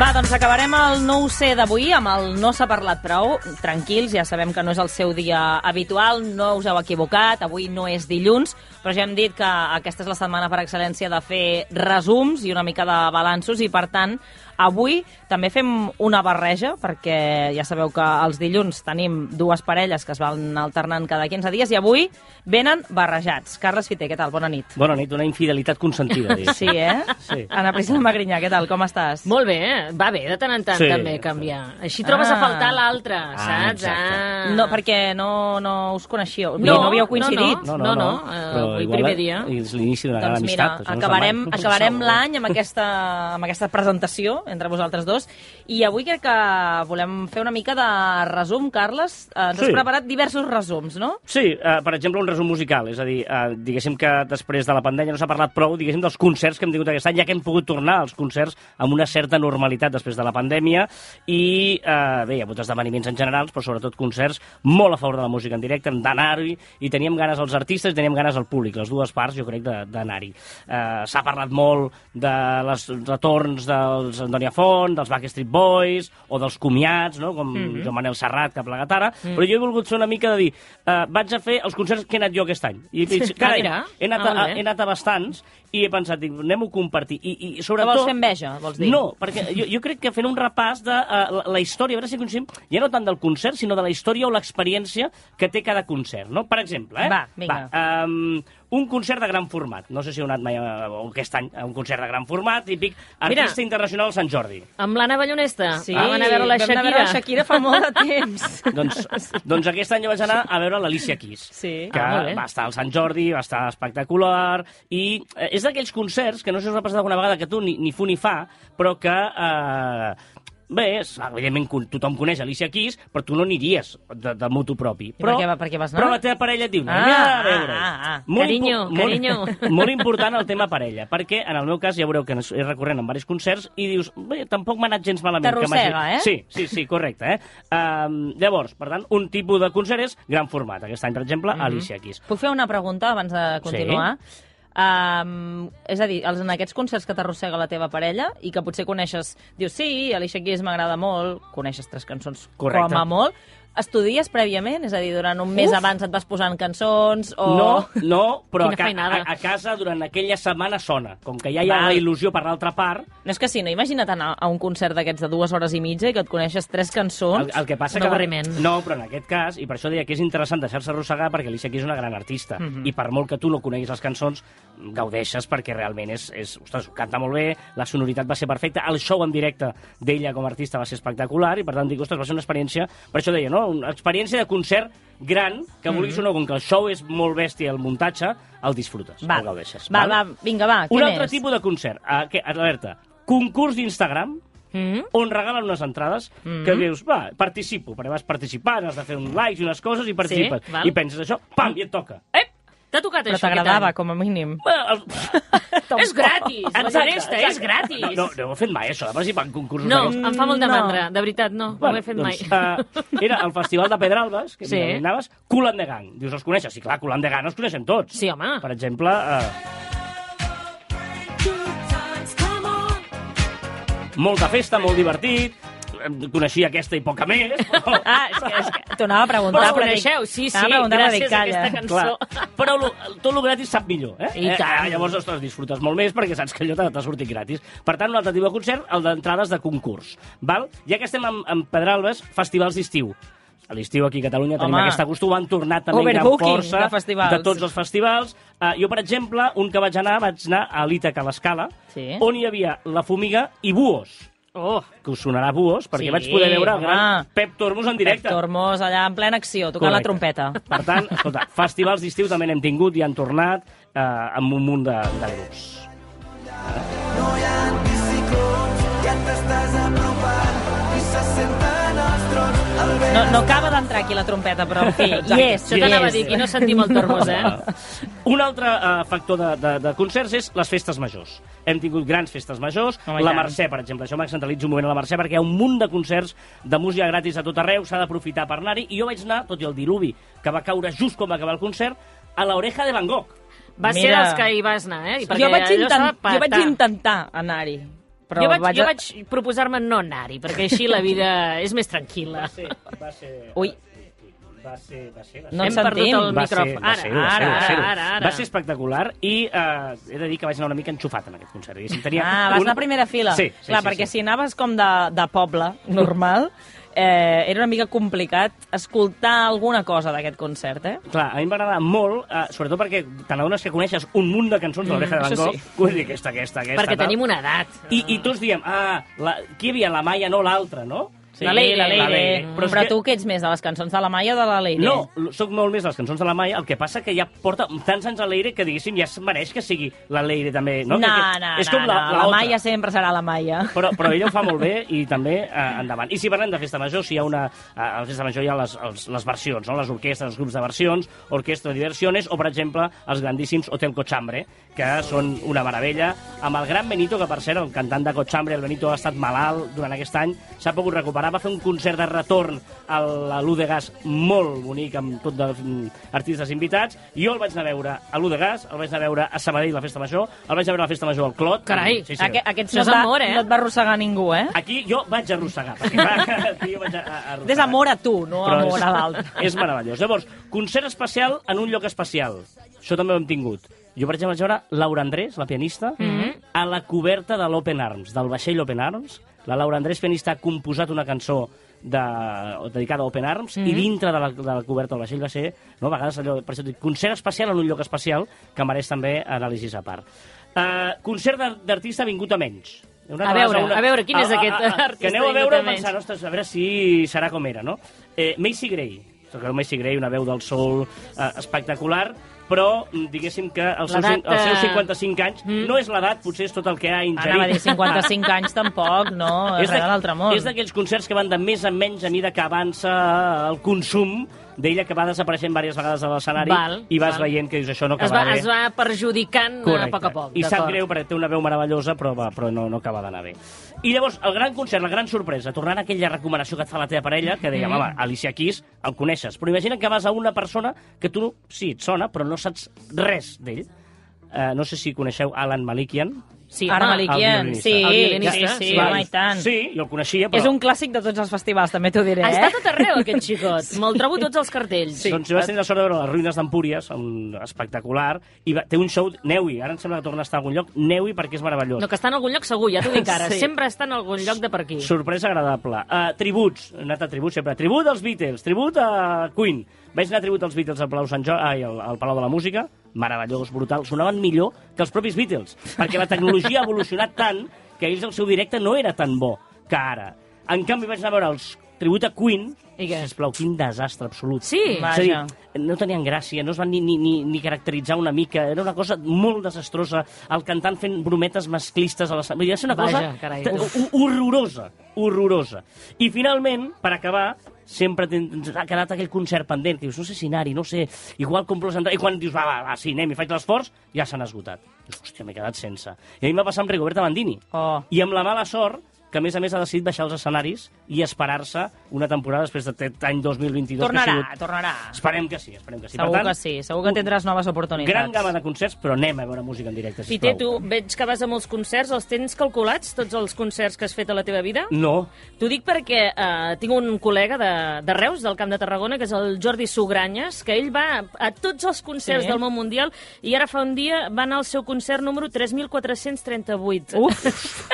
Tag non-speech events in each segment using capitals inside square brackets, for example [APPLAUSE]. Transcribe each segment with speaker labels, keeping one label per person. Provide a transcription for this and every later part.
Speaker 1: Va, doncs acabarem el no ho sé d'avui amb el no s'ha parlat prou. Tranquils, ja sabem que no és el seu dia habitual, no us heu equivocat, avui no és dilluns, però ja hem dit que aquesta és la setmana per excel·lència de fer resums i una mica de balanços i, per tant, avui també fem una barreja perquè ja sabeu que els dilluns tenim dues parelles que es van alternant cada 15 dies i avui venen barrejats. Carles Fiter, què tal? Bona nit.
Speaker 2: Bona nit, una infidelitat
Speaker 1: [LAUGHS]
Speaker 2: consentida.
Speaker 1: Sí, eh?
Speaker 2: Sí.
Speaker 1: Ana Priscila Magrinyà, què tal? Com estàs?
Speaker 3: Molt bé, eh? va bé de tant en tant
Speaker 2: Sí,
Speaker 3: sí, també canviar. Així trobes
Speaker 1: Ah.
Speaker 3: ah. a faltar l'altre,
Speaker 2: Ah,
Speaker 3: saps?
Speaker 2: exacte.
Speaker 3: Ah.
Speaker 1: No, perquè no, no us coneixíeu. No, no, no havíeu coincidit.
Speaker 3: No, no, no, eh,
Speaker 2: però
Speaker 3: avui
Speaker 2: igual
Speaker 3: primer dia.
Speaker 2: És l'inici d'una
Speaker 1: Doncs
Speaker 2: gran
Speaker 1: mira,
Speaker 2: amistat. això no
Speaker 1: acabarem,
Speaker 2: se'n va.
Speaker 1: acabarem l'any amb, aquesta, amb aquesta presentació entre vosaltres dos. I avui crec que volem fer una mica de resum, Carles. Eh, Ens
Speaker 2: Sí.
Speaker 1: has preparat diversos resums, no?
Speaker 2: [LAUGHS] Sí, eh, per exemple, un resum musical, és a dir, eh, diguéssim que després de la pandèmia no s'ha parlat prou, diguéssim, dels concerts que hem tingut aquest any, ja que hem pogut tornar als concerts amb una certa normalitat després de la pandèmia, i eh, bé, hi ha hagut esdeveniments en generals, però sobretot concerts molt a favor de la música en directe, hem d'anar-hi, i teníem ganes als artistes i teníem ganes al públic, les dues parts, jo crec, de- d'anar-hi. Eh, s'ha parlat molt de les retorns dels Antonia Font, dels Backstreet Boys, o dels comiats, no?, com
Speaker 3: Mhm.
Speaker 2: mm -hmm. Joan Manel Serrat, que ha plegat ara, mm. però jo he volgut ser una mica de dir, eh, vaig a fer els concerts que he anat jo aquest any.
Speaker 3: [LAUGHS]
Speaker 2: I, i carai,
Speaker 3: mira.
Speaker 2: he, anat
Speaker 3: Ah,
Speaker 2: a,
Speaker 3: molt bé.
Speaker 2: he anat a bastants i he pensat, dic, anem-ho a compartir. I, i
Speaker 1: Però
Speaker 2: sobretot...
Speaker 1: vols fer enveja, vols dir?
Speaker 2: No, perquè jo, jo crec que fent un repàs de uh, la, la història, a veure si coincidim, ja no tant del concert, sinó de la història o l'experiència que té cada concert, no? Per exemple, eh?
Speaker 1: Va, vinga.
Speaker 2: Va, um, un concert de gran format. No sé si heu anat mai a, o aquest any a un concert de gran format, típic
Speaker 3: Mira.
Speaker 2: artista internacional Sant Jordi.
Speaker 3: Amb l'Anna Ballonesta.
Speaker 1: Sí,
Speaker 3: Ah, vam anar a veure la
Speaker 1: vam anar
Speaker 3: Shakira.
Speaker 1: a veure la Shakira fa molt de temps. [LAUGHS]
Speaker 2: [LAUGHS] doncs, doncs aquest any jo vaig anar a veure l'Alicia Keys,
Speaker 1: Sí.
Speaker 2: que
Speaker 3: Ah, molt bé.
Speaker 2: va estar al Sant Jordi, va estar espectacular, i eh, és d'aquells concerts que no sé si us ha passat alguna vegada que tu ni, ni fu ni fa, però que... Eh, Bé, és, evidentment con- tothom coneix Alicia Keys, però tu no aniries de, de moto propi.
Speaker 1: per
Speaker 2: Però,
Speaker 1: què va- per què vas anar?
Speaker 2: Però la teva parella et diu,
Speaker 1: Ah,
Speaker 2: anem a veure.
Speaker 1: ah, ah.
Speaker 3: Carinyo,
Speaker 2: impo-
Speaker 3: carinyo.
Speaker 2: [LAUGHS] molt important el tema parella, perquè en el meu cas ja veureu que és recurrent en diversos concerts i dius, bé, tampoc m'ha anat gens malament. que m'hagi-"
Speaker 1: T'arrossega, eh?
Speaker 2: Sí, sí, sí, correcte. Eh? Um, llavors, per tant, un tipus de concert és gran format. Aquest any, per exemple,
Speaker 3: Mhm.
Speaker 2: mm -hmm. Alicia Keys.
Speaker 1: Puc fer una pregunta abans de continuar? Sí. Um, és a dir, els, en aquests concerts que t'arrossega la teva parella i que potser coneixes, dius, sí, Alicia Keys m'agrada molt, coneixes tres cançons
Speaker 2: Correcte.
Speaker 1: com a molt, estudies prèviament? És a dir, durant un mes abans et vas posant cançons o...
Speaker 2: No, no, però a,
Speaker 3: Oh. Quina
Speaker 2: ca
Speaker 3: feinada.
Speaker 2: a, a casa durant aquella setmana sona. Com que ja hi ha
Speaker 1: Val.
Speaker 2: la il·lusió per l'altra part,
Speaker 1: No és que sí, no? Imagina't anar a un concert d'aquests de dues hores i mitja i que et coneixes tres cançons.
Speaker 2: El, el que passa
Speaker 3: Un
Speaker 2: que...
Speaker 3: avorriment.
Speaker 2: No, però en aquest cas, i per això deia que és interessant deixar-se arrossegar perquè Alicia Keys és una gran artista. Mm -hmm.
Speaker 1: Mhm.
Speaker 2: I per molt que tu no coneguis les cançons, gaudeixes perquè realment és, és... Ostres, canta molt bé, la sonoritat va ser perfecta, el show en directe d'ella com a artista va ser espectacular i per tant dic, ostres, va ser una experiència... Per això deia, no? Una experiència de concert gran que vulguis
Speaker 1: Mhm.
Speaker 2: mm -hmm. o no, com que el show és molt bèstia, el muntatge, el disfrutes,
Speaker 1: Va,
Speaker 2: el gaudeixes.
Speaker 1: va,
Speaker 2: val?
Speaker 1: va, vinga, va,
Speaker 2: Un
Speaker 1: què
Speaker 2: altre
Speaker 1: més?
Speaker 2: tipus de concert, ah, que, alerta, concurs d'Instagram,
Speaker 3: Mm?
Speaker 2: on regalen unes entrades mm -hmm. que dius, va, participo, perquè vas participant, has de fer uns likes i unes coses i participes.
Speaker 3: val.
Speaker 2: I penses això, pam, i et toca.
Speaker 3: Ep, t'ha tocat
Speaker 1: Però
Speaker 3: això aquest
Speaker 1: t'agradava,
Speaker 3: any?
Speaker 1: com a mínim.
Speaker 2: Bé, el-
Speaker 3: És gratis, la
Speaker 2: [LAUGHS] Exacte,
Speaker 3: Ballonesta,
Speaker 2: exacte.
Speaker 3: és gratis.
Speaker 2: No, no, no heu fet mai això, de participar en concursos
Speaker 3: No,
Speaker 2: d'aquests.
Speaker 3: em fa molt de
Speaker 1: No.
Speaker 3: mandra, de veritat, no, no ho he fet
Speaker 2: doncs,
Speaker 3: mai.
Speaker 2: Uh, era el festival de Pedralbes, que
Speaker 3: Sí.
Speaker 2: sí. anaves, Cul and the Gang. Dius, els coneixes? Sí, clar, Cul and the Gang els coneixem tots.
Speaker 3: Sí, home.
Speaker 2: Per exemple... Uh... Molta festa, molt divertit, em coneixia aquesta i poca més. Però...
Speaker 1: Ah, és que, és que t'ho anava a preguntar.
Speaker 3: Però ho
Speaker 1: però dic-
Speaker 3: coneixeu, sí, sí,
Speaker 1: t'anava a preguntar, però dic,
Speaker 3: gràcies a aquesta
Speaker 1: calla.
Speaker 3: cançó.
Speaker 2: Clar. Però lo, tot el gratis sap millor, eh?
Speaker 3: I tant.
Speaker 2: Eh, llavors, ostres, disfrutes molt més perquè saps que allò t'ha t'ha sortit gratis. Per tant, un altre tipus de concert, el d'entrades de concurs. Val? Ja que estem en, en Pedralbes, festivals d'estiu. A l'estiu aquí a Catalunya tenim
Speaker 1: Home.
Speaker 2: aquesta costum, han tornat també amb gran
Speaker 1: Overbooking
Speaker 2: força
Speaker 1: de festivals.
Speaker 2: de tots els festivals. Uh, jo, per exemple, un que vaig anar, vaig anar a l'Ítaca, a l'Escala,
Speaker 1: Sí.
Speaker 2: on hi havia La Fumiga i Buos,
Speaker 3: [LAUGHS] Oh,
Speaker 2: que us sonarà Buos, perquè
Speaker 3: Sí,
Speaker 2: vaig poder veure el
Speaker 1: home.
Speaker 2: gran Pep Tormos en directe.
Speaker 1: Pep Tormos allà en plena acció, tocant la
Speaker 2: Correcte.
Speaker 1: trompeta.
Speaker 2: Per tant, escolta, festivals d'estiu també n'hem tingut i han tornat eh, amb un munt de, de grups.
Speaker 4: No hi ha anticiclons, ja t'estàs apropant i se senten els trons.
Speaker 1: No, no acaba d'entrar aquí la trompeta, però en
Speaker 3: [LAUGHS]
Speaker 1: fi,
Speaker 2: Exacte.
Speaker 1: hi és.
Speaker 3: Això
Speaker 1: hi
Speaker 3: t'anava a
Speaker 1: és.
Speaker 3: dir, aquí no sentim el tormos,
Speaker 1: [LAUGHS]
Speaker 3: eh?
Speaker 2: Un altre eh, factor de, de, de concerts és les festes majors. Hem tingut grans festes majors.
Speaker 1: Home, i
Speaker 2: la
Speaker 1: tant.
Speaker 2: Mercè, per exemple, això m'excentralitzo un moment a la Mercè, perquè hi ha un munt de concerts de música gratis a tot arreu, s'ha d'aprofitar per anar-hi, i jo vaig anar, tot i el diluvi, que va caure just com va acabar el concert, a l'oreja de Van Gogh.
Speaker 3: Va ser
Speaker 1: Mira.
Speaker 3: dels que hi vas anar, eh? I [LAUGHS] perquè
Speaker 1: Jo vaig,
Speaker 3: allò s'ha
Speaker 1: intent,
Speaker 3: de
Speaker 1: jo vaig
Speaker 3: petar.
Speaker 1: intentar anar-hi, però
Speaker 3: jo vaig,
Speaker 1: vaig...
Speaker 3: jo vaig proposar-me no anar-hi, perquè així la vida és més tranquil·la.
Speaker 2: va ser...
Speaker 1: Ui.
Speaker 2: Va ser, va ser, va
Speaker 1: No
Speaker 3: Hem
Speaker 1: ens
Speaker 3: perdut
Speaker 1: sentim.
Speaker 3: el
Speaker 2: va ser,
Speaker 3: micròfon.
Speaker 2: va
Speaker 3: Ara,
Speaker 2: ser,
Speaker 3: ara,
Speaker 2: va ser, va
Speaker 3: ara,
Speaker 2: ser,
Speaker 3: ara, ara.
Speaker 2: Va ser espectacular i eh, he de dir que vaig anar una mica enxufat en aquest concert. diguéssim. Tenia
Speaker 1: Ah, vas
Speaker 2: un-
Speaker 1: anar a primera fila.
Speaker 2: Sí, sí,
Speaker 1: Clar,
Speaker 2: sí,
Speaker 1: perquè
Speaker 2: sí.
Speaker 1: si anaves com de, de poble normal, eh, era una mica complicat escoltar alguna cosa d'aquest concert, eh?
Speaker 2: Clar, a mi em va agradar molt, eh, sobretot perquè t'adones que coneixes un munt de cançons de l'Oreja de
Speaker 1: Mm, això
Speaker 2: Van Gogh. Sí. Vull dir, aquesta, aquesta, aquesta...
Speaker 3: Perquè
Speaker 2: tal.
Speaker 3: tenim una edat.
Speaker 2: I, I tots diem, ah, la... qui hi havia, la Maia, no l'altra, no?
Speaker 1: la Leire, la Leire.
Speaker 2: Però,
Speaker 1: Però,
Speaker 2: és
Speaker 1: però
Speaker 2: que-
Speaker 1: tu què ets més, de les cançons de la Maia o de la Leire?
Speaker 2: No, sóc molt més de les cançons de la Maia, el que passa que ja porta tants anys a l'Eire que, diguéssim, ja es mereix que sigui la Leire també.
Speaker 1: No,
Speaker 2: No,
Speaker 1: no,
Speaker 2: que, que-
Speaker 1: no,
Speaker 2: és com
Speaker 1: no,
Speaker 2: la,
Speaker 1: la,
Speaker 2: la, otra.
Speaker 1: Maia sempre serà la Maia.
Speaker 2: però, però ella ho fa molt bé i també eh, endavant. I si parlem de festa major, si hi ha una... Eh, a la festa major hi ha les, els, les versions, no? les orquestres, els grups de versions, Orquestra de Diversiones o, per exemple, els grandíssims Hotel Cochambre, que són una meravella, amb el gran Benito, que per cert, el cantant de Cochambre, el Benito, ha estat malalt durant aquest any, s'ha pogut recuperar, va fer un concert de retorn a la Ludegas molt bonic, amb tot de mm, artistes invitats. Jo el vaig anar a veure a Ludegas, el vaig anar a veure a Sabadell, la festa major, el vaig anar a veure a la festa major al Clot.
Speaker 3: Carai,
Speaker 2: sí, sí.
Speaker 1: Aqu aquest
Speaker 3: Això
Speaker 1: no,
Speaker 3: és amor, eh?
Speaker 1: no et va arrossegar ningú, eh?
Speaker 2: Aquí jo vaig arrossegar. Perquè, clar, [LAUGHS] aquí jo vaig a- a- arrossegar.
Speaker 1: Desamor a tu, no
Speaker 2: Però
Speaker 1: amor
Speaker 2: és-
Speaker 1: a
Speaker 2: [LAUGHS]
Speaker 1: l'altre.
Speaker 2: És meravellós. Llavors, concert especial en un lloc especial. Això també ho hem tingut. Jo, per exemple, vaig veure Laura Andrés, la pianista,
Speaker 3: Mhm.
Speaker 2: a la coberta de l'Open Arms, del vaixell Open Arms. La Laura Andrés, pianista, ha composat una cançó de, dedicada a Open Arms
Speaker 3: Mhm.
Speaker 2: i dintre de la, de la coberta del vaixell va ser, no, a vegades allò, per això dic, concert especial en un lloc especial que mereix també anàlisis a part. Uh, concert d'ar- d'artista vingut a menys. Una
Speaker 3: A
Speaker 2: altra vegada
Speaker 3: veure, a veure, quin és aquest artista
Speaker 2: Que aneu a
Speaker 3: vingut
Speaker 2: veure
Speaker 3: a
Speaker 2: i
Speaker 3: menys?
Speaker 2: pensar, ostres, a veure si serà com era, no? Eh, Macy Gray, recordeu Macy Gray, una veu del soul eh, espectacular, però mm, diguéssim que els seus,
Speaker 3: L'edat,
Speaker 2: els seus
Speaker 3: eh,
Speaker 2: 55 anys mm. no és l'edat, potser és tot el que ha ingerit.
Speaker 1: Anava a dir 55 anys tampoc, no? És res
Speaker 2: d'aqu-
Speaker 1: de l'altre món.
Speaker 2: [LAUGHS] És d'aquells concerts que van de més en menys a mida que avança el consum d'ella, que va desapareixent diverses vegades a l'escenari
Speaker 3: Val,
Speaker 2: i vas
Speaker 3: val.
Speaker 2: veient que dius això no
Speaker 3: Es va,
Speaker 2: acabarà bé.
Speaker 3: es va perjudicant eh, a poc a poc.
Speaker 2: I sap
Speaker 3: d'acord.
Speaker 2: greu perquè té una veu meravellosa, però, va, però no, no acaba d'anar bé. I llavors, el gran concert, la gran sorpresa, tornant a aquella recomanació que et fa la teva parella, que deia,
Speaker 1: Mm.
Speaker 2: mama, Alicia Keys, el coneixes, però imagina que vas a una persona que tu, sí, et sona, però no saps res d'ell. Eh, no sé si coneixeu Alan Malikian.
Speaker 3: Sí,
Speaker 1: Ara
Speaker 3: home, eh?
Speaker 1: Malikian,
Speaker 2: violinista.
Speaker 1: sí,
Speaker 3: El
Speaker 1: sí,
Speaker 3: violinista,
Speaker 1: sí,
Speaker 3: sí.
Speaker 1: home, i tant.
Speaker 2: Sí, jo el coneixia, però...
Speaker 1: És un clàssic de tots els festivals, també t'ho diré,
Speaker 3: Ha
Speaker 1: eh?
Speaker 3: estat tot arreu, aquest xicot. Me'l trobo tots els cartells.
Speaker 2: Sí. Doncs jo vaig tenir la sort de veure les ruïnes d'Empúries, un espectacular, i va, té un show, neu-hi, ara em sembla que torna a estar a algun lloc, neu-hi perquè és meravellós.
Speaker 3: No, que està en algun lloc segur, ja t'ho dic ara.
Speaker 1: Sí.
Speaker 3: Sempre està en algun lloc de per aquí.
Speaker 2: Sorpresa agradable. Uh, tributs, he anat a tributs sempre. Tribut als Beatles, tribut a Queen. Vaig anar a tribut als Beatles al Palau Sant Jordi, ai, al, al Palau de la Música, meravellós, brutal. Sonaven millor que els propis Beatles, perquè la tecnologia ha evolucionat tant que ells el seu directe no era tan bo que ara. En canvi, vaig anar a veure els tribut a Queen,
Speaker 3: I què?
Speaker 2: sisplau, quin desastre absolut.
Speaker 3: Sí?
Speaker 2: És a dir,
Speaker 1: Vaja.
Speaker 2: no tenien gràcia, no es van ni, ni, ni, ni caracteritzar una mica, era una cosa molt desastrosa, el cantant fent brometes masclistes a la... Vull dir, va ser una cosa
Speaker 3: Vaja, carai,
Speaker 2: te-
Speaker 3: tu.
Speaker 2: ho- horrorosa, horrorosa. I finalment, per acabar, sempre ten- ens ha quedat aquell concert pendent, que dius, no sé si anar-hi, no sé, igual compro les entrades, i quan dius, va, va, va, sí, anem i faig l'esforç, ja s'han esgotat. Dius, hòstia, m'he quedat sense. I a mi em va passar amb Rigoberta Bandini,
Speaker 1: Oh.
Speaker 2: i amb la mala sort, que a més a més ha decidit baixar els escenaris i esperar-se una temporada després d'aquest any 2022 que ha
Speaker 1: Tornarà,
Speaker 2: sigut
Speaker 1: tornarà.
Speaker 2: Esperem que sí, esperem que sí.
Speaker 1: Segur
Speaker 2: per tant,
Speaker 1: que sí, segur que tindràs noves oportunitats. [LAUGHS]
Speaker 2: Gran gamma de concerts, però anem a veure música en directe,
Speaker 3: I
Speaker 2: sisplau.
Speaker 3: té, tu, veig que vas a molts concerts, els tens calculats, tots els concerts que has fet a la teva vida?
Speaker 2: No,
Speaker 3: T'ho dic perquè eh, tinc un col·lega de, de Reus, del Camp de Tarragona, que és el Jordi Sugranyes, que ell va a tots els concerts
Speaker 1: Sí.
Speaker 3: sí. del món mundial i ara fa un dia va anar al seu concert número 3.438.
Speaker 1: Uf!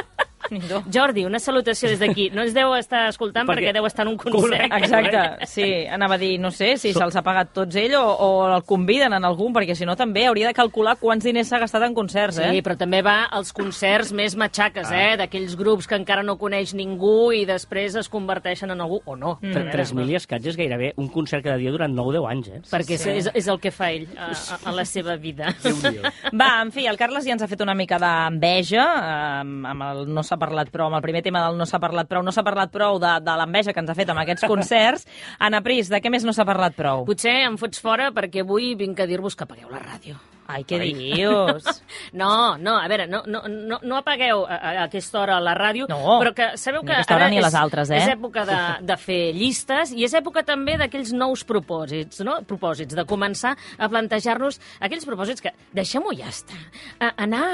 Speaker 1: Nindó.
Speaker 3: Jordi, una salutació des d'aquí. No ens deu estar escoltant perquè,
Speaker 2: Perquè-
Speaker 3: perquè deu estar en un concert.
Speaker 2: Correcte.
Speaker 1: Exacte, sí, anava a dir, no sé si se'ls ha pagat tots ell o, o el conviden en algun, perquè si no també hauria de calcular quants diners s'ha gastat en concerts, eh?
Speaker 3: Sí, però també va als concerts més matxaques, eh? D'aquells grups que encara no coneix ningú i després es converteixen en algú, o no.
Speaker 2: mm. 3.000 i escaig és gairebé un concert cada dia durant 9-10 anys, eh?
Speaker 3: Perquè
Speaker 1: Sí.
Speaker 3: sí. és, és el que fa ell a, a, a la seva vida.
Speaker 2: Déu-n'hi-do.
Speaker 1: Va, en fi, el Carles ja ens ha fet una mica d'enveja eh, amb el no s'ha parlat prou, amb el primer tema del no s'ha parlat prou, no s'ha parlat prou de, de l'enveja que ens ha fet amb aquests concerts. Anna Pris, de què més no s'ha parlat prou?
Speaker 3: [LAUGHS] Potser em fots fora perquè avui vinc a dir-vos que apagueu la ràdio.
Speaker 1: Ai, què dius?
Speaker 3: No, no, a veure, no, no, no, no apagueu a, a aquesta hora la ràdio,
Speaker 1: No,
Speaker 3: però que sabeu
Speaker 1: ni
Speaker 3: que
Speaker 1: a aquesta hora
Speaker 3: ara
Speaker 1: ni a les
Speaker 3: és,
Speaker 1: altres, eh?
Speaker 3: és època de, de fer llistes i és època també d'aquells nous propòsits, no? propòsits, de començar a plantejar-nos aquells propòsits que deixem-ho ja estar, a, anar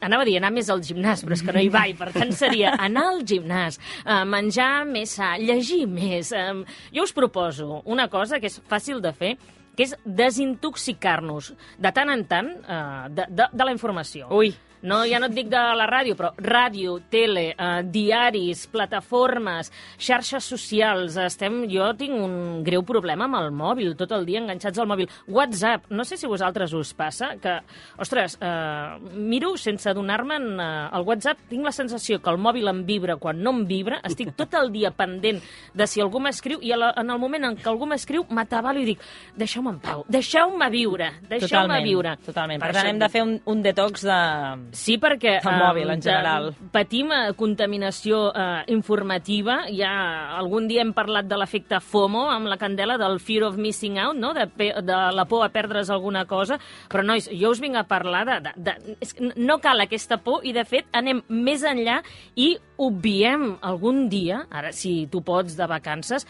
Speaker 3: Anava a dir anar més al gimnàs, però és que no hi vaig, per tant seria anar al gimnàs, eh, menjar més sa, llegir més. eh, Jo us proposo una cosa que és fàcil de fer, que és desintoxicar-nos de tant en tant eh, de, de, de la informació.
Speaker 1: Ui.
Speaker 3: No, ja no et dic de la ràdio, però ràdio, tele, eh, diaris, plataformes, xarxes socials... Estem, jo tinc un greu problema amb el mòbil, tot el dia enganxats al mòbil. WhatsApp, no sé si a vosaltres us passa que... Ostres, eh, miro sense adonar-me'n eh, el WhatsApp, tinc la sensació que el mòbil em vibra quan no em vibra,
Speaker 1: [LAUGHS]
Speaker 3: estic tot el dia pendent de si algú m'escriu i a la, en el moment en què algú m'escriu m'atabalo i dic deixeu-me en pau, deixeu-me viure, [LAUGHS] deixeu-me
Speaker 1: Totalment,
Speaker 3: viure.
Speaker 1: totalment. Per
Speaker 3: Per
Speaker 1: tant,
Speaker 3: això
Speaker 1: hem
Speaker 3: et
Speaker 1: de
Speaker 3: dic-
Speaker 1: fer un, un detox de...
Speaker 3: Sí, perquè...
Speaker 1: El mòbil, en
Speaker 3: de-
Speaker 1: general.
Speaker 3: Patim eh, contaminació eh, informativa. Ja algun dia hem parlat de l'efecte FOMO amb la candela del Fear of Missing Out, no? de, pe- de la por a perdre's alguna cosa. Però, nois, jo us vinc a parlar de... de, de és, que no cal aquesta por i, de fet, anem més enllà i obviem algun dia, ara si tu pots, de vacances,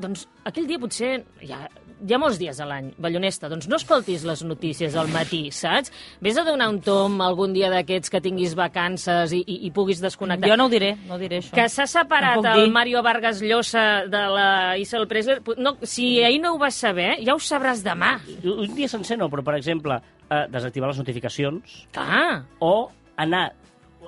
Speaker 3: doncs aquell dia potser hi ha, hi ha molts dies a l'any, Ballonesta, doncs no escoltis les notícies al matí, saps? Vés a donar un tom algun dia d'aquests que tinguis vacances i, i, i puguis desconnectar.
Speaker 1: Jo no ho diré, no ho diré, això.
Speaker 3: Que s'ha separat
Speaker 1: Tampoc
Speaker 3: el
Speaker 1: dir.
Speaker 3: Mario Vargas Llosa de la Isabel Presley. No, si ahir no ho vas saber, ja ho sabràs demà.
Speaker 2: Un dia sencer no, però, per exemple, eh, desactivar les notificacions
Speaker 3: Ah,
Speaker 2: o anar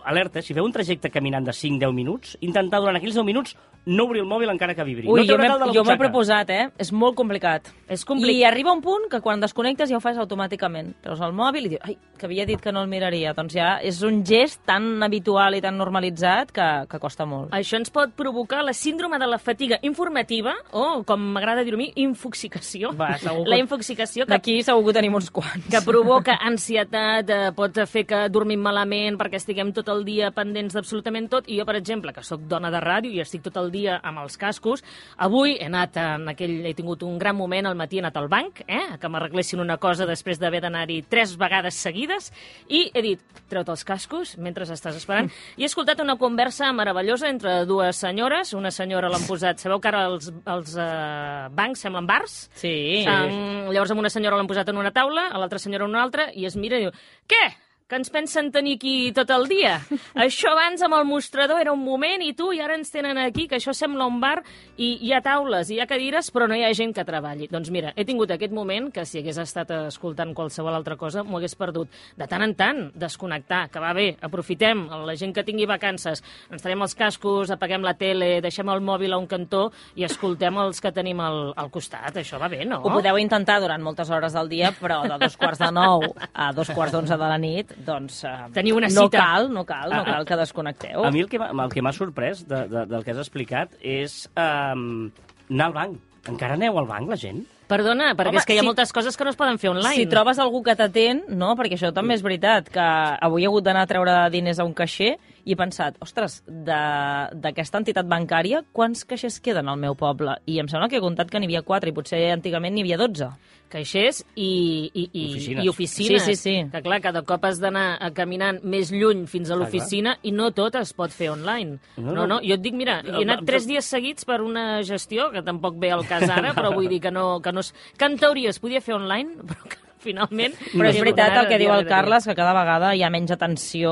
Speaker 2: alerta, si veu un trajecte caminant de 5-10 minuts, intentar durant aquells 10 minuts no obrir el mòbil encara que vibri.
Speaker 1: Ui,
Speaker 2: no
Speaker 1: jo
Speaker 2: treure'l
Speaker 1: m'he
Speaker 2: de la
Speaker 1: jo m'ho he
Speaker 2: butxaca.
Speaker 1: proposat, eh? És molt complicat.
Speaker 3: És complicat.
Speaker 1: I arriba un punt que quan desconnectes ja ho fas automàticament. Treus el mòbil i dius, ai, que havia dit que no el miraria. Doncs ja és un gest tan habitual i tan normalitzat que, que costa molt.
Speaker 3: Això ens pot provocar la síndrome de la fatiga informativa, o, com m'agrada dir-ho a mi, infoxicació.
Speaker 1: Va, segur que-
Speaker 3: la infoxicació que
Speaker 1: D'aquí segur que tenim uns quants.
Speaker 3: que provoca ansietat, eh, pot fer que dormim malament perquè estiguem tot el dia pendents d'absolutament tot. I jo, per exemple, que sóc dona de ràdio i estic tot el dia amb els cascos, avui he anat eh, en aquell... He tingut un gran moment al matí, he anat al banc, eh, que m'arreglessin una cosa després d'haver d'anar-hi tres vegades seguides, i he dit, treu els cascos mentre estàs esperant. I he escoltat una conversa meravellosa entre dues senyores. Una senyora l'han posat... Sabeu que ara els, els eh, bancs semblen bars?
Speaker 1: Sí.
Speaker 3: Um, llavors amb una senyora l'han posat en una taula, a l'altra senyora en una altra, i es mira i diu, què? que ens pensen tenir aquí tot el dia. Això abans amb el mostrador era un moment i tu, i ara ens tenen aquí, que això sembla un bar i hi ha taules, hi ha cadires, però no hi ha gent que treballi. Doncs mira, he tingut aquest moment que si hagués estat escoltant qualsevol altra cosa m'ho hagués perdut. De tant en tant, desconnectar, que va bé, aprofitem, la gent que tingui vacances, ens traiem els cascos, apaguem la tele, deixem el mòbil a un cantó i escoltem els que tenim al, al costat. Això va bé, no?
Speaker 1: Ho podeu intentar durant moltes hores del dia, però de dos quarts de nou a dos quarts d'onze de la nit, doncs... Eh,
Speaker 3: Teniu una
Speaker 1: no
Speaker 3: cita. Ah,
Speaker 1: Cal, no cal, no cal que desconnecteu.
Speaker 2: A mi el que, m'ha- el que m'ha sorprès de, de, del que has explicat és um, anar al banc. Encara aneu al banc, la gent?
Speaker 3: Perdona, perquè
Speaker 1: Home,
Speaker 3: és que hi ha
Speaker 1: si-
Speaker 3: moltes coses que no es poden fer online.
Speaker 1: Si trobes algú que t'atén, no? Perquè això també és veritat, que avui he hagut d'anar a treure diners a un caixer i he pensat, ostres, de- d'aquesta entitat bancària, quants caixers queden al meu poble? I em sembla que he comptat que n'hi havia 4 i potser antigament n'hi havia 12.
Speaker 3: Caixers i, i, i,
Speaker 2: Oficines.
Speaker 3: i oficines.
Speaker 1: Sí, sí, sí.
Speaker 3: Que clar, cada cop has d'anar eh, caminant més lluny fins a l'oficina i no tot es pot fer online.
Speaker 2: No,
Speaker 3: No,
Speaker 2: no.
Speaker 3: no, jo et dic, mira, he anat tres dies seguits per una gestió, que tampoc ve al cas ara, però vull dir que no... Que, no es... que en teoria es podia fer online, però que finalment...
Speaker 1: Però és
Speaker 3: he
Speaker 1: veritat
Speaker 3: tornat
Speaker 1: el que diu
Speaker 3: dia
Speaker 1: el
Speaker 3: darrere.
Speaker 1: Carles, que cada vegada hi ha menys atenció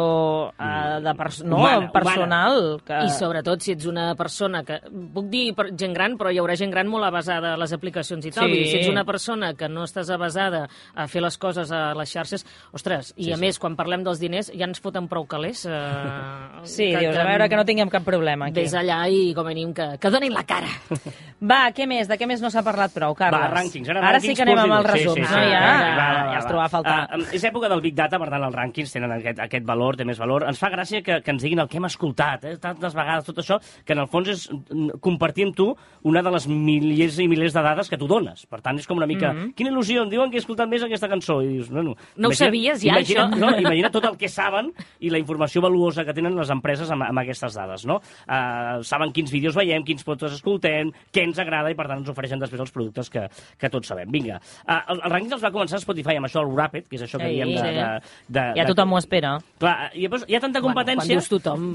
Speaker 1: eh, de pers no,
Speaker 2: Humana,
Speaker 1: personal. Que...
Speaker 3: I sobretot si ets una persona que... Puc dir per- gent gran, però hi haurà gent gran molt avasada a les aplicacions i tal.
Speaker 1: Sí.
Speaker 3: Vull dir, si ets una persona que no estàs avasada a fer les coses a les xarxes... Ostres, i a més, quan parlem dels diners, ja ens foten prou calés. Eh,
Speaker 1: [LAUGHS] Sí, dius, a veure que no tinguem cap problema aquí. [LAUGHS]
Speaker 3: Vés allà i, com a mínim, que, que donin la cara.
Speaker 1: Va, què més? De què més no s'ha parlat prou, Carles?
Speaker 2: Va, rànquings. Ara,
Speaker 1: ara
Speaker 2: rànquings
Speaker 1: sí que anem amb els
Speaker 2: purs i durs.
Speaker 1: resums, no? Ja,
Speaker 2: va, va,
Speaker 1: ja es
Speaker 2: va.
Speaker 1: trobava a faltar.
Speaker 2: Ah, és època del Big Data, per tant, els rànquings tenen aquest, aquest valor, té més valor. Ens fa gràcia que, que ens diguin el que hem escoltat, eh? tantes vegades, tot això, que en el fons és mm, compartir amb tu una de les milers i milers de dades que tu dones. Per tant, és com una mica...
Speaker 1: Mm-hmm.
Speaker 2: Quina il·lusió, em diuen que he escoltat més aquesta cançó. I dius, bueno,
Speaker 3: No ho sabies ja,
Speaker 2: imagina,
Speaker 3: això?
Speaker 2: No, imagina tot el que saben i la informació valuosa que tenen les empreses amb, amb aquestes dades, no? Uh, saben quins vídeos veiem, quins fotos escoltem, què ens agrada i, per tant, ens ofereixen després els productes que, que tots sabem. Vinga, uh, el, el rànquing els va començar a Spotify amb això, el Rapid, que és això que
Speaker 1: Ei,
Speaker 2: diem de...
Speaker 1: sí.
Speaker 2: de, de
Speaker 1: Ja tothom ho espera.
Speaker 2: De... Clar, eh, i llavors hi ha tanta
Speaker 3: Quan
Speaker 2: competència...
Speaker 3: dius tothom...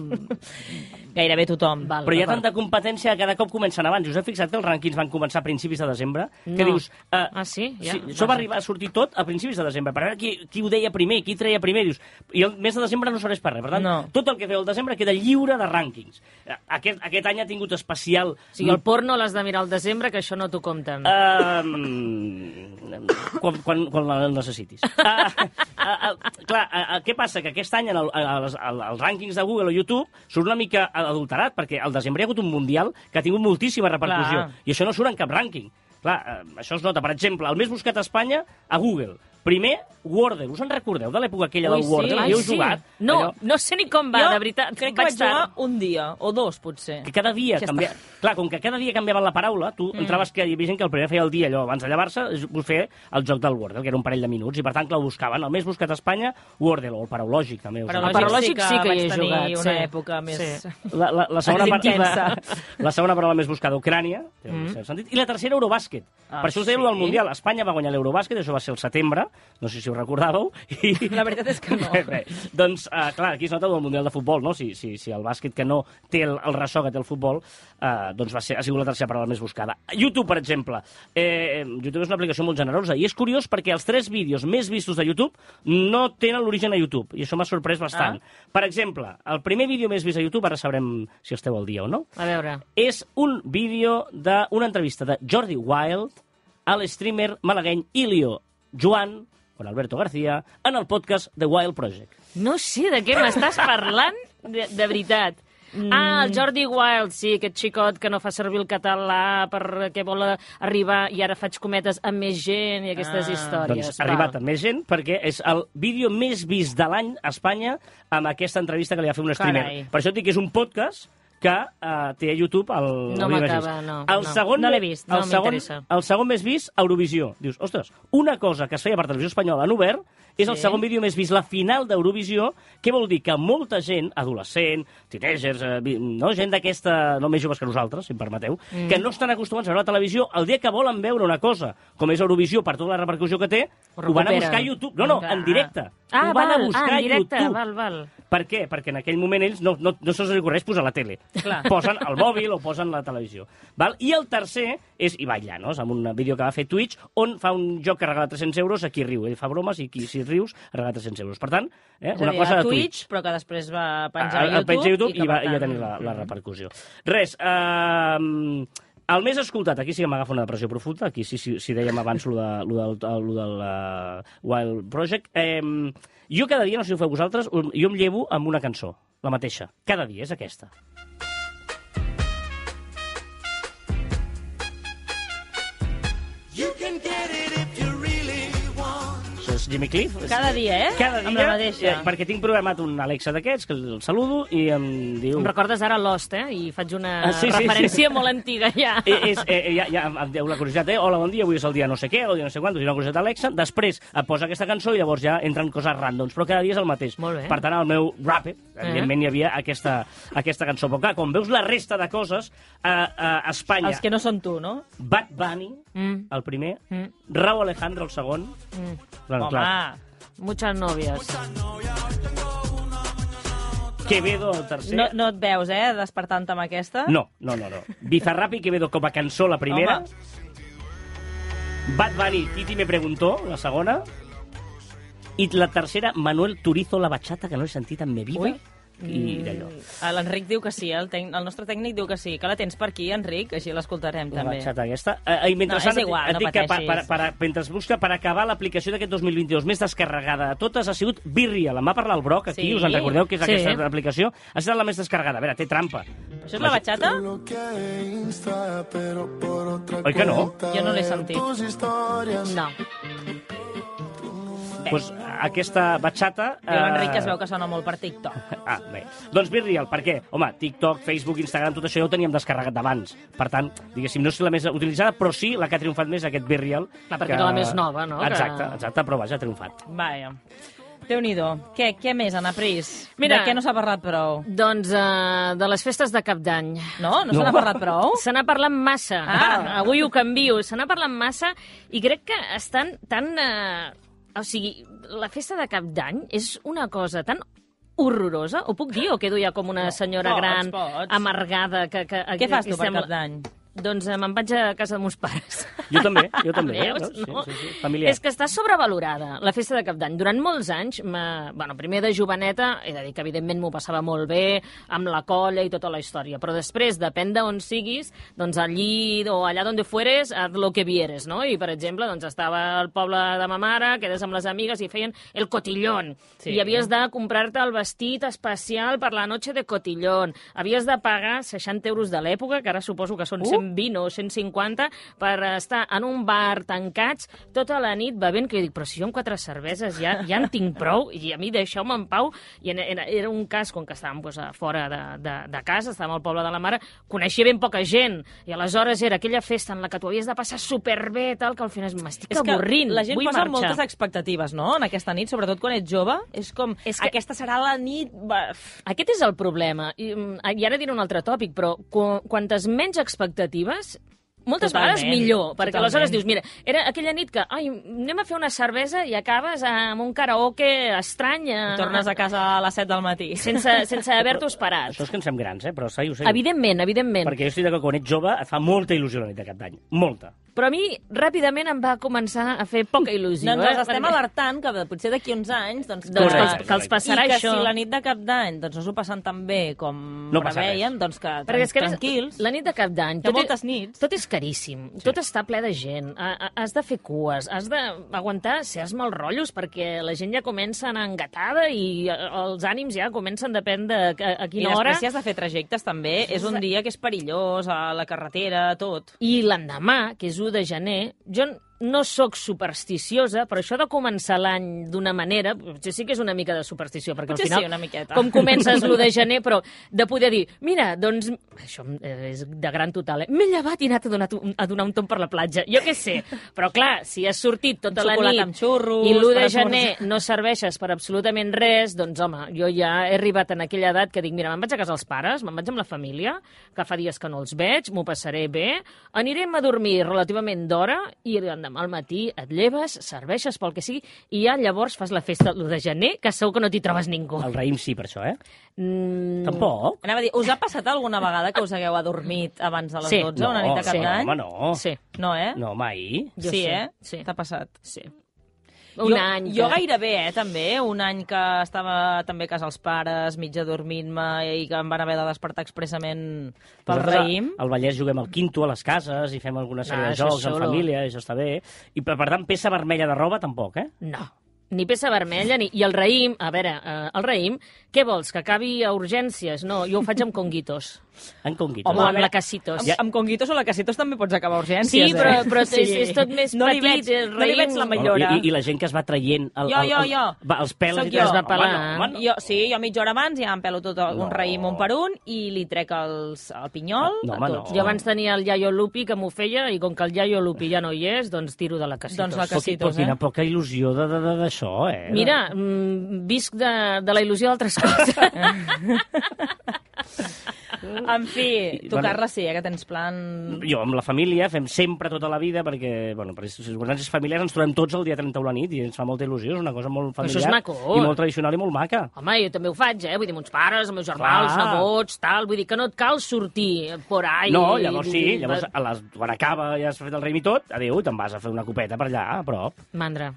Speaker 1: Gairebé tothom.
Speaker 3: Val,
Speaker 2: Però hi ha
Speaker 3: d'acord.
Speaker 2: tanta competència que cada cop comencen abans. Us heu fixat que els rànquings van començar a principis de desembre? Que
Speaker 3: No.
Speaker 2: dius... eh,
Speaker 3: Ah, sí? Ja,
Speaker 2: sí això
Speaker 3: vaja.
Speaker 2: va arribar a sortir tot a principis de desembre. Per veure qui, qui ho deia primer, qui treia primer. Dius, I el mes de desembre no serveix per res. Per tant,
Speaker 1: No.
Speaker 2: tot el que feu al desembre queda lliure de rànquings. Eh, Aquest, aquest any ha tingut especial...
Speaker 3: O sigui, el porno l'has de mirar al desembre, que això no t'ho compten.
Speaker 1: Eh,
Speaker 2: Um, quan, quan, quan el [LAUGHS] necessitis. Uh, uh, uh, clar, uh, uh, què passa? Que aquest any en el, a les, al- als rànquings de Google o YouTube surt una mica adulterat, perquè al desembre hi ha hagut un mundial que ha tingut moltíssima repercussió,
Speaker 1: Clar.
Speaker 2: i això no surt en cap rànquing. Clar, uh, això es nota. Per exemple, el més buscat a Espanya, a Google, primer, Wordle. Us en recordeu de l'època aquella
Speaker 1: Ui,
Speaker 2: del
Speaker 1: sí.
Speaker 2: Wordle?
Speaker 1: Ai,
Speaker 2: Hi heu
Speaker 1: sí.
Speaker 2: jugat?
Speaker 3: No,
Speaker 2: Allò-
Speaker 3: no sé ni com va,
Speaker 1: jo
Speaker 3: de veritat.
Speaker 1: crec que vaig jugar
Speaker 3: tard.
Speaker 1: un dia, o dos, potser.
Speaker 2: que cada dia canvia... Clar, com que cada dia canviaven la paraula, tu mm. entraves que hi havia gent que el primer feia el dia allò, abans de llevar-se, vos fer el joc del Wordle, que era un parell de minuts, i per tant, clar, ho buscaven. El més buscat a Espanya, Wordle, o el paraulògic, també. us ho
Speaker 3: Paraulògic.
Speaker 2: dic.
Speaker 3: Paralògic sí que hi he
Speaker 1: vaig tenir
Speaker 3: jugat,
Speaker 1: una
Speaker 3: sí.
Speaker 1: època més...
Speaker 3: Sí.
Speaker 2: La, la, la, segona part,
Speaker 1: Intensa.
Speaker 2: [LAUGHS] la segona paraula més buscada, Ucrània, té un cert sentit, i la tercera, Eurobàsquet.
Speaker 1: Mm. Ah,
Speaker 2: per això us deia allò del
Speaker 1: sí?
Speaker 2: Mundial. Espanya va guanyar l'Eurobàsquet, això va ser el setembre, no sé si ho recordàveu. I...
Speaker 1: [LAUGHS] La veritat és que no.
Speaker 2: [LAUGHS] Bé, bé. Doncs, uh, clar, aquí es nota el del Mundial de Futbol, no? Si, si, si el bàsquet que no té el, el ressò que té el futbol, uh, doncs va ser, ha sigut la tercera paraula més buscada. YouTube, per exemple. Eh, YouTube és una aplicació molt generosa i és curiós perquè els tres vídeos més vistos de YouTube no tenen l'origen a YouTube, i això m'ha sorprès bastant.
Speaker 1: Ah.
Speaker 2: Per exemple, el primer vídeo més vist a YouTube, ara sabrem si esteu al dia o no,
Speaker 3: A veure...
Speaker 2: és un vídeo d'una entrevista de Jordi Wild al streamer malagueny Ilio Joan, con Alberto García, en el podcast The Wild Project.
Speaker 3: No sé de què m'estàs parlant, de, de veritat.
Speaker 2: Mm.
Speaker 3: Ah, el Jordi Wild, sí, aquest xicot que no fa servir el català perquè vol arribar, i ara faig cometes, amb més gent i aquestes
Speaker 1: Ah.
Speaker 3: històries.
Speaker 2: Doncs ha arribat a més gent perquè és el vídeo més vist de l'any a Espanya amb aquesta entrevista que li va fer un streamer.
Speaker 1: Carai.
Speaker 2: Per això et dic que és un podcast que uh, té a YouTube el...
Speaker 3: No
Speaker 2: el vídeo més
Speaker 3: m'acaba,
Speaker 2: vist.
Speaker 3: no,
Speaker 2: El
Speaker 3: no.
Speaker 2: segon,
Speaker 3: No l'he
Speaker 2: me-
Speaker 3: vist, no
Speaker 2: el segon,
Speaker 3: m'interessa.
Speaker 2: el segon més vist, Eurovisió. Dius, ostres, una cosa que es feia per televisió espanyola en obert és el
Speaker 1: Sí.
Speaker 2: segon vídeo més vist, la final d'Eurovisió, que vol dir que molta gent, adolescent, teenagers, eh, vi- no? gent d'aquesta, no més joves que nosaltres, si em permeteu, mm. que no estan acostumats a veure la televisió, el dia que volen veure una cosa, com és Eurovisió, per tota la repercussió que té,
Speaker 3: Ho
Speaker 2: ho van a
Speaker 3: recuperen.
Speaker 2: buscar a YouTube. No, no, en directe.
Speaker 3: Ah,
Speaker 2: ho van
Speaker 3: val,
Speaker 2: a buscar
Speaker 3: ah,
Speaker 2: a
Speaker 3: en directe,
Speaker 2: YouTube.
Speaker 3: val, val.
Speaker 2: Per què? Perquè en aquell moment ells no, no, no se'ls ocorreix posar la tele.
Speaker 1: Clar.
Speaker 2: Posen el mòbil o posen la televisió. Val? I el tercer és Ibai Llanos, amb un vídeo que va fer Twitch, on fa un joc que regala 300 euros a qui riu. Ell fa bromes i qui, si rius regala 300 euros. Per tant, eh,
Speaker 1: És a
Speaker 2: una
Speaker 1: dir,
Speaker 2: cosa
Speaker 1: a
Speaker 2: de Twitch.
Speaker 1: però que després va
Speaker 2: A-
Speaker 1: penjar a,
Speaker 2: a-
Speaker 1: YouTube,
Speaker 2: Ah, penja a YouTube i,
Speaker 1: que,
Speaker 2: va,
Speaker 1: per
Speaker 2: i
Speaker 1: tant, Mm.
Speaker 2: va tenir la, la repercussió. Res, eh, el més escoltat, aquí sí que m'agafa una depressió profunda, aquí sí, sí, sí dèiem abans lo, de, lo del, lo del uh, Wild Project, eh, jo cada dia, no sé si ho feu vosaltres, um, jo em llevo amb una cançó, la mateixa, cada dia, és aquesta.
Speaker 4: You can get it if you really want.
Speaker 2: Això és Jimmy Cliff. és-
Speaker 1: Cada dia, eh?
Speaker 2: Cada dia,
Speaker 1: Amb la mateixa.
Speaker 2: eh, perquè tinc programat un Alexa d'aquests, que el saludo i em diu...
Speaker 3: Em recordes ara Lost, eh? I faig una
Speaker 2: Ah, sí, sí,
Speaker 3: referència
Speaker 2: sí.
Speaker 3: molt antiga, ja.
Speaker 2: Eh, és, eh, eh, ja, ja em deu la curiositat, eh? Hola, bon dia, avui és el dia no sé què, o dia no sé quant, o dia una curiositat Alexa. Després et posa aquesta cançó i llavors ja entren coses randoms, però cada dia és el mateix.
Speaker 3: Molt bé.
Speaker 2: Per tant, al meu rap, eh? evidentment hi havia aquesta, aquesta cançó. Però clar, com veus la resta de coses, eh, eh, Espanya,
Speaker 1: Els que no són tu, no?
Speaker 2: Bad Bunny,
Speaker 3: Mm.
Speaker 2: el primer,
Speaker 3: Mm.
Speaker 2: Rauw Alejandro, el segon...
Speaker 3: Mm.
Speaker 2: Bueno,
Speaker 1: Home,
Speaker 2: clar,
Speaker 3: Muchas novias.
Speaker 2: Quevedo, el tercer...
Speaker 1: no, no et veus, eh, despertant amb aquesta?
Speaker 2: No, no, no, no. Bizarrap i Quevedo com a cançó la primera.
Speaker 1: Home.
Speaker 2: Bad Bunny, Titi me preguntó, la segona. I la tercera, Manuel Turizo, la bachata, que no he sentit en mi vida.
Speaker 1: Ui.
Speaker 2: I d'allò.
Speaker 1: Ah, L'Enric diu que sí, el, tec... el nostre tècnic diu que sí, que la tens per aquí, Enric, així l'escoltarem
Speaker 2: La
Speaker 1: també.
Speaker 2: bachata aquesta. Eh, I mentrestant
Speaker 1: No, és igual,
Speaker 2: et,
Speaker 1: no
Speaker 2: dic que per, per,
Speaker 1: pateixis.
Speaker 2: per, mentre es busca per acabar l'aplicació d'aquest 2022 més descarregada de totes ha sigut Birria. La va parlar el Broc aquí,
Speaker 1: Sí.
Speaker 2: us en recordeu que és
Speaker 3: Sí.
Speaker 2: aquesta aplicació? Ha estat la més descarregada. A veure, té trampa.
Speaker 1: Això és la bachata?
Speaker 5: Lo que insta, pero por otra
Speaker 2: Oi que no?
Speaker 5: cuenta
Speaker 1: Yo no le
Speaker 5: veo
Speaker 1: sentí.
Speaker 5: Tus historias.
Speaker 1: No. Bé,
Speaker 2: Pues, Doncs, aquesta eh, batxata...
Speaker 1: Diu l'Enric que es veu que sona molt per TikTok.
Speaker 2: Ah, bé. Doncs Be Real, per què? Home, TikTok, Facebook, Instagram, tot això ja ho teníem descarregat d'abans. Per tant, diguéssim, no és la més utilitzada, però sí la que ha triomfat més, aquest Be Real.
Speaker 3: Clar, perquè era la més nova, no?
Speaker 2: Exacte,
Speaker 3: Que-
Speaker 2: exacte, però vaja, ha triomfat.
Speaker 1: Vaja. déu nhi Què, què més, Anna Pris?
Speaker 3: Mira-
Speaker 1: de què no s'ha parlat prou?
Speaker 3: Doncs uh, de les festes de cap d'any.
Speaker 1: No? No,
Speaker 2: No.
Speaker 1: se n'ha parlat [LAUGHS] prou?
Speaker 3: Oh. Se n'ha parlat massa.
Speaker 1: Ah.
Speaker 3: Avui ho canvio. Se n'ha parlat massa i crec que estan tan... Eh, o sigui, la festa de cap d'any és una cosa tan horrorosa, ho puc dir, o quedo ja com una senyora
Speaker 1: pots,
Speaker 3: gran,
Speaker 1: pots.
Speaker 3: amargada, que... que
Speaker 1: Què fas tu per
Speaker 3: sembla-
Speaker 1: Cap d'Any?
Speaker 3: Doncs eh, me'n vaig a casa de meus pares.
Speaker 2: Jo també, jo també.
Speaker 3: Veus?
Speaker 2: eh?
Speaker 3: No?
Speaker 2: Sí, sí, sí. Familiar.
Speaker 3: És que està sobrevalorada, la festa de Cap d'Any. Durant molts anys, me... bueno, primer de joveneta, he de dir que evidentment m'ho passava molt bé, amb la colla i tota la història, però després, depèn d'on siguis, doncs allí o allà on fueres, haz lo que vieres, no? I, per exemple, doncs estava al poble de ma mare, quedes amb les amigues i feien el cotillón.
Speaker 1: Sí.
Speaker 3: Sí. I havies de comprar-te el vestit especial per la noche de cotillón. Havies de pagar 60 euros de l'època, que ara suposo que són
Speaker 1: Uh!
Speaker 3: 120 o 150, per estar en un bar tancats tota la nit bevent, que jo dic, però si jo amb quatre cerveses ja, ja en tinc prou, i a mi deixeu-me en pau. I en- era, era un cas, com que estàvem pues, a fora de, de, de casa, estàvem al poble de la mare, coneixia ben poca gent, i aleshores era aquella festa en la que tu havies de passar superbé, tal, que al final m'estic avorrint,
Speaker 1: la gent
Speaker 3: vull
Speaker 1: posa
Speaker 3: marxar.
Speaker 1: moltes expectatives, no?, en aquesta nit, sobretot quan ets jove. És com,
Speaker 3: És que-
Speaker 1: aquesta serà la nit... va, f-
Speaker 3: Aquest és el problema. I, mm, i ara diré un altre tòpic, però qu quantes menys expectatives, moltes
Speaker 1: Totalment,
Speaker 3: vegades millor, perquè
Speaker 1: totalment.
Speaker 3: aleshores dius, mira, era aquella nit que, ai, anem a fer una cervesa i acabes amb un karaoke estrany. eh,
Speaker 1: Tornes a casa a les 7 del matí.
Speaker 3: [LAUGHS] Sense,
Speaker 1: [LAUGHS]
Speaker 3: sense haver-t'ho esperat.
Speaker 2: Això és que ens fem grans, eh? Però sai, ho sé.
Speaker 3: Evidentment, evidentment.
Speaker 2: Perquè jo estic d'acord, quan ets jove et fa molta il·lusió la nit de cap d'any. Molta.
Speaker 3: Però a mi ràpidament em va començar a fer poca il·lusió.
Speaker 1: No, ens els
Speaker 3: eh?
Speaker 1: estem
Speaker 3: Perquè-
Speaker 1: alertant que potser d'aquí uns anys... Doncs,
Speaker 2: que
Speaker 3: Doncs
Speaker 1: que,
Speaker 2: els- que els
Speaker 3: passarà
Speaker 1: I que
Speaker 3: això.
Speaker 1: si la nit de cap d'any doncs, no s'ho passen tan bé com
Speaker 2: No passa
Speaker 1: preveien, doncs que,
Speaker 3: Perquè és que a més,
Speaker 1: tranquils.
Speaker 3: la nit de cap d'any...
Speaker 1: Hi ha
Speaker 3: tot i-
Speaker 1: moltes nits.
Speaker 3: Tot és caríssim, sí. tot està ple de gent, ha- ha- has de fer cues, has d'aguantar certs mals rotllos perquè la gent ja comença a anar engatada i eh, els ànims ja comencen depèn de a, a
Speaker 1: I
Speaker 3: quina hora.
Speaker 1: després si has de fer trajectes també, és un dia que és perillós, a la carretera, tot.
Speaker 3: I l'endemà, que és 1 de gener, jo n- no sóc supersticiosa, però això de començar l'any d'una manera, potser sí que és una mica de superstició, perquè
Speaker 1: Potser
Speaker 3: al final...
Speaker 1: sí, una miqueta.
Speaker 3: Com comences l'1
Speaker 1: [LAUGHS]
Speaker 3: de gener, però de poder dir, mira, doncs... Això eh, és de gran total, eh? M'he llevat i he anat a donar, un- a donar un tomb per la platja, jo què sé. Però clar, si has sortit tota
Speaker 1: Un
Speaker 3: la
Speaker 1: xocolata
Speaker 3: nit
Speaker 1: amb xurros,
Speaker 3: i l'1
Speaker 1: per
Speaker 3: de
Speaker 1: esmorzar. [LAUGHS]
Speaker 3: gener no serveixes per absolutament res, doncs home, jo ja he arribat en aquella edat que dic, mira, me'n vaig a casa els pares, me'n vaig amb la família, que fa dies que no els veig, m'ho passaré bé, anirem a dormir relativament d'hora i l'endemà al matí et lleves, serveixes pel que sigui i ja llavors fas la festa l'1 de gener, que segur que no t'hi trobes ningú.
Speaker 2: El raïm sí, per això, eh?
Speaker 3: Mm,
Speaker 2: Tampoc.
Speaker 1: Anava a dir, us ha passat alguna vegada que us hagueu adormit abans de les
Speaker 3: Sí.
Speaker 1: 12, una nit de cap
Speaker 2: sí,
Speaker 1: d'any?
Speaker 2: home, no.
Speaker 3: Sí,
Speaker 1: No, eh?
Speaker 2: No, mai.
Speaker 3: Jo
Speaker 1: sí,
Speaker 3: sí,
Speaker 1: eh?
Speaker 3: sí.
Speaker 1: T'ha passat.
Speaker 3: sí. Un
Speaker 1: jo,
Speaker 3: any.
Speaker 1: Jo
Speaker 3: que-
Speaker 1: gairebé, eh, també. Un any que estava també a casa els pares, mitja dormint-me, i que em van haver de despertar expressament pel
Speaker 2: Nosaltres a-
Speaker 1: raïm.
Speaker 2: Al Vallès juguem al quinto, a les cases, i fem alguna sèrie
Speaker 3: Ah,
Speaker 2: de
Speaker 3: això és
Speaker 2: jocs en
Speaker 3: xulo.
Speaker 2: família, i això està bé. I per, per tant, peça vermella de roba tampoc, eh?
Speaker 3: No. Ni peça vermella, ni... I el raïm, a veure, eh, el raïm, què vols, que acabi a urgències? No, jo ho faig amb conguitos.
Speaker 2: En conguitos.
Speaker 3: Home,
Speaker 1: a
Speaker 3: amb
Speaker 1: veure,
Speaker 3: lacacitos.
Speaker 1: Amb, amb conguitos o lacacitos també pots acabar a
Speaker 3: Sí,
Speaker 1: urgències,
Speaker 3: però,
Speaker 1: eh?
Speaker 3: però és, és tot més
Speaker 1: no li
Speaker 3: petit,
Speaker 1: veig,
Speaker 3: el
Speaker 1: No li
Speaker 3: raïm-
Speaker 1: veig la millora.
Speaker 2: I, i, la gent que es va traient el,
Speaker 1: Jo,
Speaker 2: el,
Speaker 1: jo,
Speaker 2: el-
Speaker 1: jo.
Speaker 2: va, els pèls
Speaker 1: Sóc
Speaker 2: i es
Speaker 1: jo.
Speaker 2: va pelar.
Speaker 3: Home,
Speaker 2: Home, no,
Speaker 1: Jo, sí, jo mitja hora abans ja em pelo tot el,
Speaker 2: No.
Speaker 1: un raïm un per un i li trec els, el pinyol.
Speaker 2: No,
Speaker 1: a
Speaker 2: home,
Speaker 1: tot.
Speaker 2: no.
Speaker 3: Jo abans tenia el Iaio Lupi, que m'ho feia, i com que el Iaio Lupi ja no hi és, doncs tiro de la casita.
Speaker 1: Doncs la
Speaker 2: Poc-
Speaker 1: Lacacitos,
Speaker 2: poc- Quina
Speaker 1: eh?
Speaker 2: poca il·lusió de- de- de- d'això, eh?
Speaker 3: Mira, mm, visc de, de la il·lusió d'altres
Speaker 1: [LAUGHS]
Speaker 3: coses.
Speaker 1: Eh. En fi,
Speaker 2: I,
Speaker 1: tu,
Speaker 2: bueno.
Speaker 1: Carles, sí, eh, que tens plan...
Speaker 2: jo amb la família fem sempre tota la vida perquè, bueno, per circumstàncies familiars ens trobem tots el dia 30 a la nit i ens fa molta il·lusió, és una cosa molt
Speaker 3: Però
Speaker 2: familiar
Speaker 3: això és maco.
Speaker 2: i molt tradicional i molt maca.
Speaker 3: Home, jo també ho faig, eh? Vull dir, mons pares, els meus
Speaker 2: Clar.
Speaker 3: germans, nebots, tal. Vull dir que no et cal sortir por ahí.
Speaker 2: no, llavors sí,
Speaker 3: i-
Speaker 1: eh,
Speaker 2: llavors a les, quan acaba ja has fet el raïm i tot, adéu, te'n vas a fer una copeta per allà, a prop.
Speaker 3: Mandra.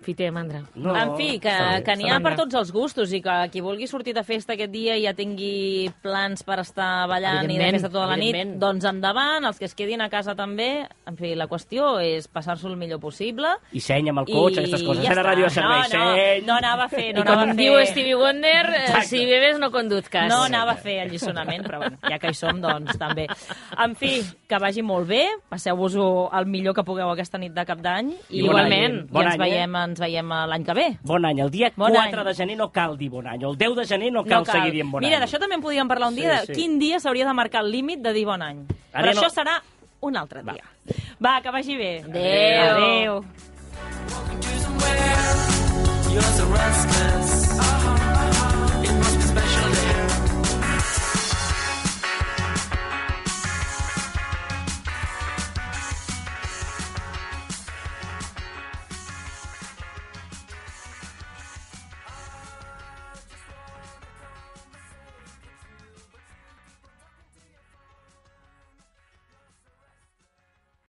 Speaker 3: Fiter, mandra.
Speaker 2: No.
Speaker 1: En fi, que,
Speaker 6: Està bé,
Speaker 1: que n'hi ha
Speaker 3: està bé.
Speaker 1: per tots els gustos i que qui vulgui sortir de festa aquest dia i ja tingui plans per estar ballant i de
Speaker 3: Evidentment,
Speaker 1: festa tota la nit,
Speaker 3: evidentment.
Speaker 1: doncs endavant, els que es quedin a casa també. En fi, la qüestió és passar-s'ho el millor possible.
Speaker 2: I seny amb el cotxe, aquestes coses. Ja Sent a ràdio de eh? servei,
Speaker 1: no, no,
Speaker 2: seny...
Speaker 1: no anava a fer, no
Speaker 3: I com
Speaker 1: anava a fer...
Speaker 3: diu Stevie Wonder, eh, si bebes no conduzcas.
Speaker 1: No anava a fer alliçonament, però bueno, ja que hi som, doncs també. En fi, que vagi molt bé, passeu-vos-ho el millor que pugueu aquesta nit de cap d'any.
Speaker 2: I
Speaker 1: I,
Speaker 3: bon any.
Speaker 1: I
Speaker 2: Bon
Speaker 1: ens,
Speaker 2: any, eh?
Speaker 1: veiem, ens veiem eh, l'any que ve.
Speaker 2: Bon any. El dia
Speaker 1: Bon
Speaker 2: 4
Speaker 1: any.
Speaker 2: de gener no cal dir bon any. El 10 de gener no cal, seguir dient bon
Speaker 1: Mira,
Speaker 2: any.
Speaker 1: d'això també en podíem parlar un
Speaker 2: Sí,
Speaker 1: dia, de
Speaker 2: sí.
Speaker 1: quin dia s'hauria de marcar el límit de dir bon any.
Speaker 2: Ara
Speaker 1: Però
Speaker 2: no.
Speaker 1: això serà un altre dia. Va, que vagi bé.
Speaker 3: Adéu.
Speaker 1: Adéu.
Speaker 4: Yours a restless.